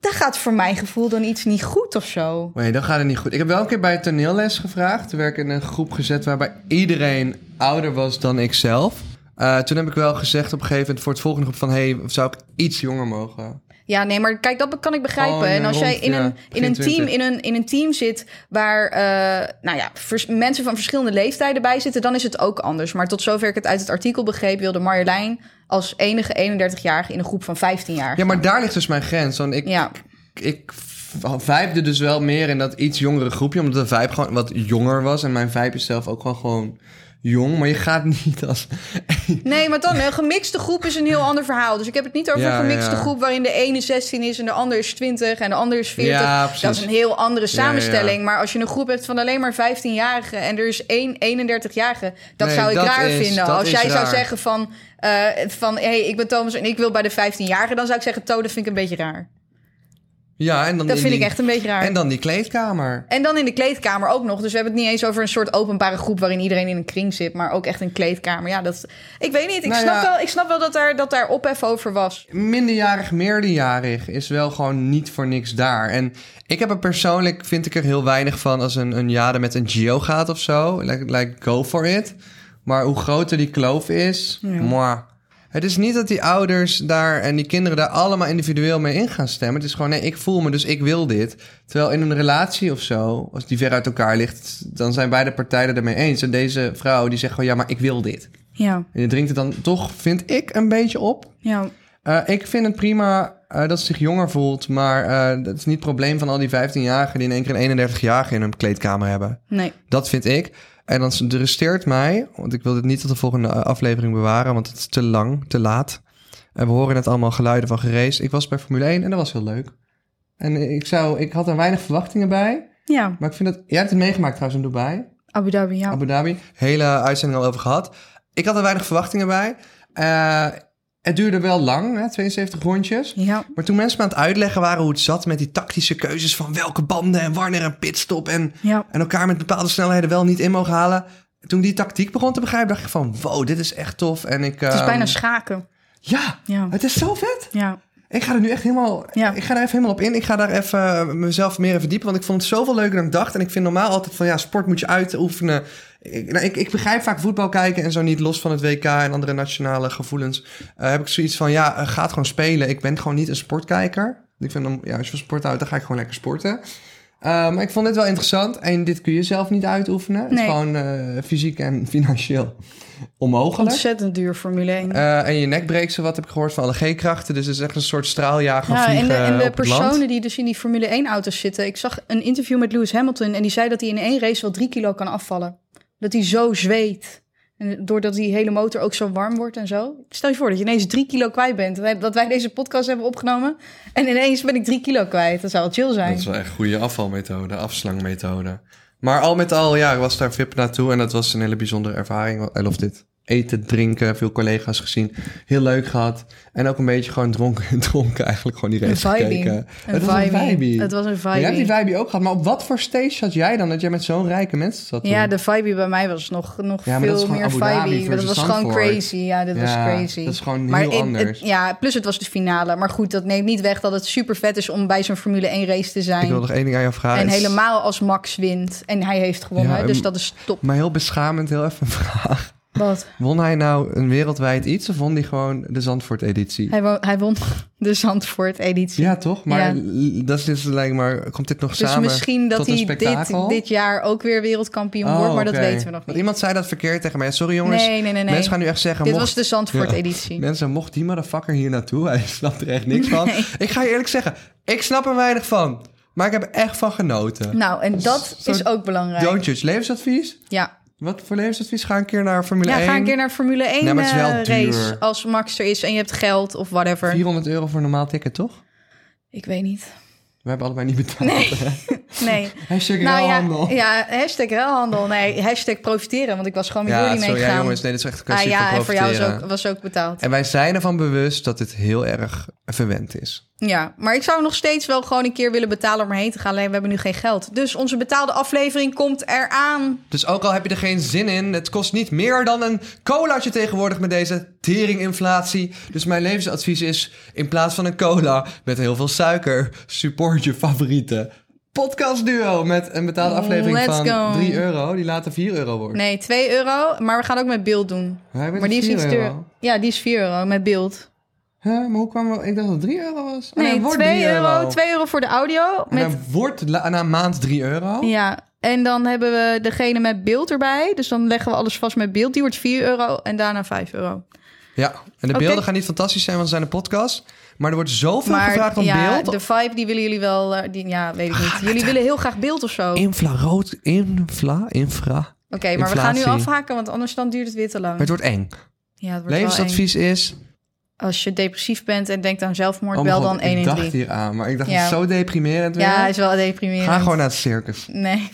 daar gaat voor mijn gevoel dan iets niet goed of zo.
Nee, dan gaat het niet goed. Ik heb wel een keer bij het toneelles gevraagd. Toen werd ik in een groep gezet waarbij iedereen ouder was dan ik zelf. Eh, toen heb ik wel gezegd op een gegeven moment voor het volgende groep van... hey, zou ik iets jonger mogen?
Ja, nee, maar kijk, dat kan ik begrijpen.
Gewoon, eh,
en als jij
rond,
in,
ja,
een, in,
begin
een team,
20.
in, een, in een team zit waar eh, nou ja, vers- mensen van verschillende leeftijden bij zitten, dan is het ook anders. Maar tot zover ik het uit het artikel begreep, wilde Marjolein als enige 31-jarige in een groep van 15 jaar.
Ja, maar daar ligt dus mijn grens. Want ik,
Ja.
ik v- vijfde dus wel meer in dat iets jongere groepje. Omdat de vijf gewoon wat jonger was. En mijn vijf is zelf ook gewoon, gewoon jong. Maar je gaat niet als...
Nee, maar dan een gemixte groep is een heel ander verhaal. Dus ik heb het niet over
Ja,
een gemixte
ja.
groep waarin de ene 16 is en de ander is 20 en de ander is 40.
Ja,
dat
precies.
is een heel andere
Ja, ja, ja.
samenstelling. Maar als je een groep hebt van alleen maar 15-jarigen en er is één 31-jarige, dat
Nee,
zou ik
dat
raar
is-
vinden.
dat
Als
is
jij zou
raar.
zeggen van, eh, van hé, hey, ik ben Thomas en ik wil bij de 15-jarigen, dan zou ik zeggen, Toh, dat vind ik een beetje raar.
Ja, en dan
Dat
in
vind ik
die-
echt een beetje raar.
En dan die kleedkamer.
En dan in de kleedkamer ook nog. Dus we hebben het niet eens over een soort openbare groep waarin iedereen in een kring zit, maar ook echt een kleedkamer. Ja, dat. Ik weet niet. Ik,
Nou
snap,
ja.
wel, ik snap wel dat daar, dat daar ophef over was.
minderjarig, meerderjarig is wel gewoon niet voor niks daar. En ik heb er persoonlijk, vind ik er heel weinig van als een, een jade met een geo gaat of zo. Like, like, go for it. Maar hoe groter die kloof is, mwah. Het is niet dat die ouders daar en die kinderen daar allemaal individueel mee in gaan stemmen. Het is gewoon, nee, ik voel me, dus ik wil dit. Terwijl in een relatie of zo, als die ver uit elkaar ligt, dan zijn beide partijen ermee eens. En deze vrouw die zegt gewoon, ja, maar ik wil dit.
Ja,
En je drinkt het dan toch, vind ik, een beetje op.
ja.
Eh, ik vind het prima eh, dat ze zich jonger voelt, maar eh, dat is niet het probleem van al die 15-jarigen die in één keer een 31-jarige in hun kleedkamer hebben.
Nee.
Dat vind ik. En dan resteert mij, want ik wil dit niet tot de volgende eh, aflevering bewaren, want het is te lang, te laat. En we horen net allemaal geluiden van gerace. Ik was bij Formule 1 en dat was heel leuk. En ik, zou, ik had er weinig verwachtingen bij,
Ja,
maar ik vind dat... Jij hebt het meegemaakt trouwens in Dubai.
Abu Dhabi, ja.
Abu Dhabi. Hele uitzending al over gehad. Ik had er weinig verwachtingen bij. Eh, het duurde wel lang, hè, 72 rondjes.
ja.
Maar toen mensen me aan het uitleggen waren hoe het zat met die tactische keuzes van welke banden en wanneer een pitstop en,
Ja.
en elkaar met bepaalde snelheden wel niet in mogen halen. Toen die tactiek begon te begrijpen, dacht ik van wow, dit is echt tof. En ik,
Het is bijna
ja,
schaken. Ja.
het is zo vet.
Ja.
Ik ga er nu echt helemaal,
Ja.
ik ga daar even helemaal op in. Ik ga daar even eh, mezelf meer in verdiepen, want ik vond het zoveel leuker dan ik dacht. En ik vind normaal altijd van ja, sport moet je uitoefenen. Ik, nou, ik, ik begrijp vaak voetbal kijken en zo niet, los van het WK en andere nationale gevoelens. eh, heb ik zoiets van ja, eh, ga het gewoon spelen. Ik ben gewoon niet een sportkijker. Ik vind dan, ja, als je van sport houdt, dan ga ik gewoon lekker sporten. Eh, maar ik vond dit wel interessant en dit kun je zelf niet uitoefenen. Het is
Nee.
gewoon eh, fysiek en financieel onmogelijk.
Ontzettend duur Formule 1.
Eh, en je nek breekt zo wat, heb ik gehoord, van alle G-krachten. Dus het is echt een soort straaljager
ja,
van
en Nou, de,
vliegen
en de
op het land.
personen die dus in die Formule 1-auto's zitten. Ik zag een interview met Lewis Hamilton en die zei dat hij in één race wel drie kilo kan afvallen. Dat hij zo zweet. En doordat die hele motor ook zo warm wordt en zo. Stel je voor dat je ineens drie kilo kwijt bent. Wij- Dat wij deze podcast hebben opgenomen. En ineens ben ik drie kilo kwijt. Dat zou wel chill zijn.
Dat is wel echt een goede afvalmethode, afslangmethode. Maar al met al, ja, ik was daar VIP naartoe. En dat was een hele bijzondere ervaring. I love dit. Eten, drinken, veel collega's gezien. Heel leuk gehad. En ook een beetje gewoon dronken, dronken eigenlijk. Gewoon die race
Een vibing.
gekeken.
Een
het was een
vibing.
vibing.
Het was een vibing.
Jij hebt die vibing ook gehad. Maar op wat voor stage zat jij dan? Dat jij met zo'n rijke mensen zat toen?
Ja, de vibe bij mij was nog, nog
Ja, maar dat is
veel
gewoon
meer
Abu Dhabi
vibe. Dat
versus
was gewoon
Zandvoort.
crazy. Ja, dat was
Ja,
crazy.
dat is gewoon
Maar
heel
het- het-
anders.
ja, plus het was de finale. Maar goed, dat neemt niet weg dat het super vet is om bij zo'n Formule 1 race te
Ik wil
zijn.
nog één ding aan jou vragen.
En
Het is-
helemaal als Max wint. En hij heeft gewonnen.
Ja,
dus
en-
dat is top.
Maar heel beschamend, heel even een vraag.
Wat?
Won hij nou een wereldwijd iets of won hij gewoon de Zandvoort-editie?
Hij won, hij won de Zandvoort-editie.
Ja, toch? Maar
Ja.
l- dat is dus lijkt maar, komt dit nog
dus
samen
misschien dat
tot een
hij dit,
spektakel?
dit jaar ook weer wereldkampioen
Oh,
wordt. Maar
oké.
dat weten we nog
Want
niet.
Iemand zei dat verkeerd tegen mij. Sorry jongens,
Nee, nee, nee. nee.
mensen gaan nu echt zeggen...
Dit
mocht,
was de Zandvoort-editie.
Mensen, mocht die motherfucker hier naartoe? Hij snapt er echt niks van. Ik ga je eerlijk zeggen, ik snap er weinig van. Maar ik heb er echt van genoten.
Nou, en dat
Zo-
is ook belangrijk.
Don't judge. Levensadvies?
Ja.
Wat voor levensadvies? Ga een keer naar Formule
Ja,
1.
ga een keer naar Formule 1
Nee, maar het is wel
eh,
duur.
race als Max er is en je hebt geld of whatever.
400 euro voor een normaal ticket, toch?
Ik weet niet.
We hebben allebei niet betaald.
Nee.
Hashtag
Nou
ruilhandel.
ja, ja, hashtag ruilhandel. Nee, hashtag profiteren, want ik was gewoon met
Ja,
jullie
sorry, ja,
meegegaan.
jongens, nee, dit is echt een
ah,
kwestie
ja,
van
en voor jou was
profiteren.
ook, was ook betaald.
En wij zijn ervan bewust dat dit heel erg verwend is.
Ja, maar ik zou nog steeds wel gewoon een keer willen betalen om erheen te gaan. Alleen we hebben nu geen geld. Dus onze betaalde aflevering komt eraan.
Dus ook al heb je er geen zin in, het kost niet meer dan een colaatje tegenwoordig met deze teringinflatie. Dus mijn levensadvies is, in plaats van een cola met heel veel suiker, support je favoriete podcastduo met een betaalde aflevering
Let's
van
go.
3 euro, die later 4 euro wordt.
Nee, 2 euro. Maar we gaan ook met beeld doen.
Wij werden
Maar die is
4
iets
euro.
duur. Ja, die is 4 euro met beeld.
Hè, maar hoe kwamen we... Ik dacht dat het 3 euro was. Oh,
Nee,
het wordt
2
3
euro. 2 euro voor de audio.
En
Met,
dan wordt la- na een maand 3 euro.
ja, en dan hebben we degene met beeld erbij. Dus dan leggen we alles vast met beeld. Die wordt 4 euro en daarna 5 euro.
Ja, en de
Oké.
beelden gaan niet fantastisch zijn, want ze zijn een podcast. Maar er wordt zoveel gevraagd om
ja,
beeld. Ah,
de vibe die willen jullie wel... eh, Die, ja, weet ik niet. Jullie willen heel graag beeld of zo. Oké,
Infrarood, infla, infra. Maar
maar we gaan nu
Inflatie.
afhaken, want anders dan duurt het weer te lang.
het wordt eng.
Ja, het wordt wel eng.
Levensadvies is...
Als je depressief bent en denkt aan zelfmoord,
Oh mijn
bel
god,
dan 1
ik
in
dacht
3.
hier aan, maar ik dacht,
Ja.
het is zo deprimerend weer.
Ja, is wel deprimerend.
Ga gewoon naar het circus.
Nee.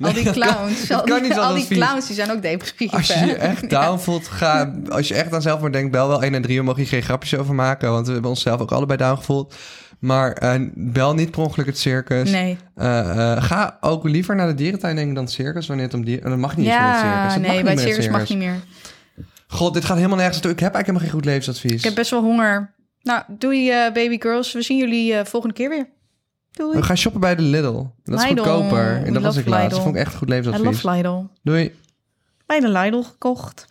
al die clowns.
dat
al,
kan niet
die- al
als
die
advies.
clowns die zijn ook depressief.
Als je
hè?
je echt down voelt, ga, als je echt aan zelfmoord denkt, bel wel 1 en 3. We mogen hier geen grapjes over maken, want we hebben onszelf ook allebei down gevoeld. Maar eh, bel niet per ongeluk het circus.
Nee.
Eh, eh, ga ook liever naar de dierentuin denk ik, dan het circus, wanneer het om dieren... Dat mag niet eens meer het circus.
Ja,
Dat mag
nee,
niet
bij het
meer
circus mag niet meer.
God, dit gaat helemaal nergens naartoe. Ik heb eigenlijk helemaal geen goed levensadvies.
Ik heb best wel honger. Nou, doei eh, baby girls. We zien jullie eh, volgende keer weer. Doei.
We gaan shoppen bij de Lidl. Dat is
Lidl.
goedkoper.
We
En dat was
love
ik laatst. Dat
Lidl.
vond ik echt een goed
I
levensadvies.
love Lidl.
Doei.
Bij de Lidl gekocht.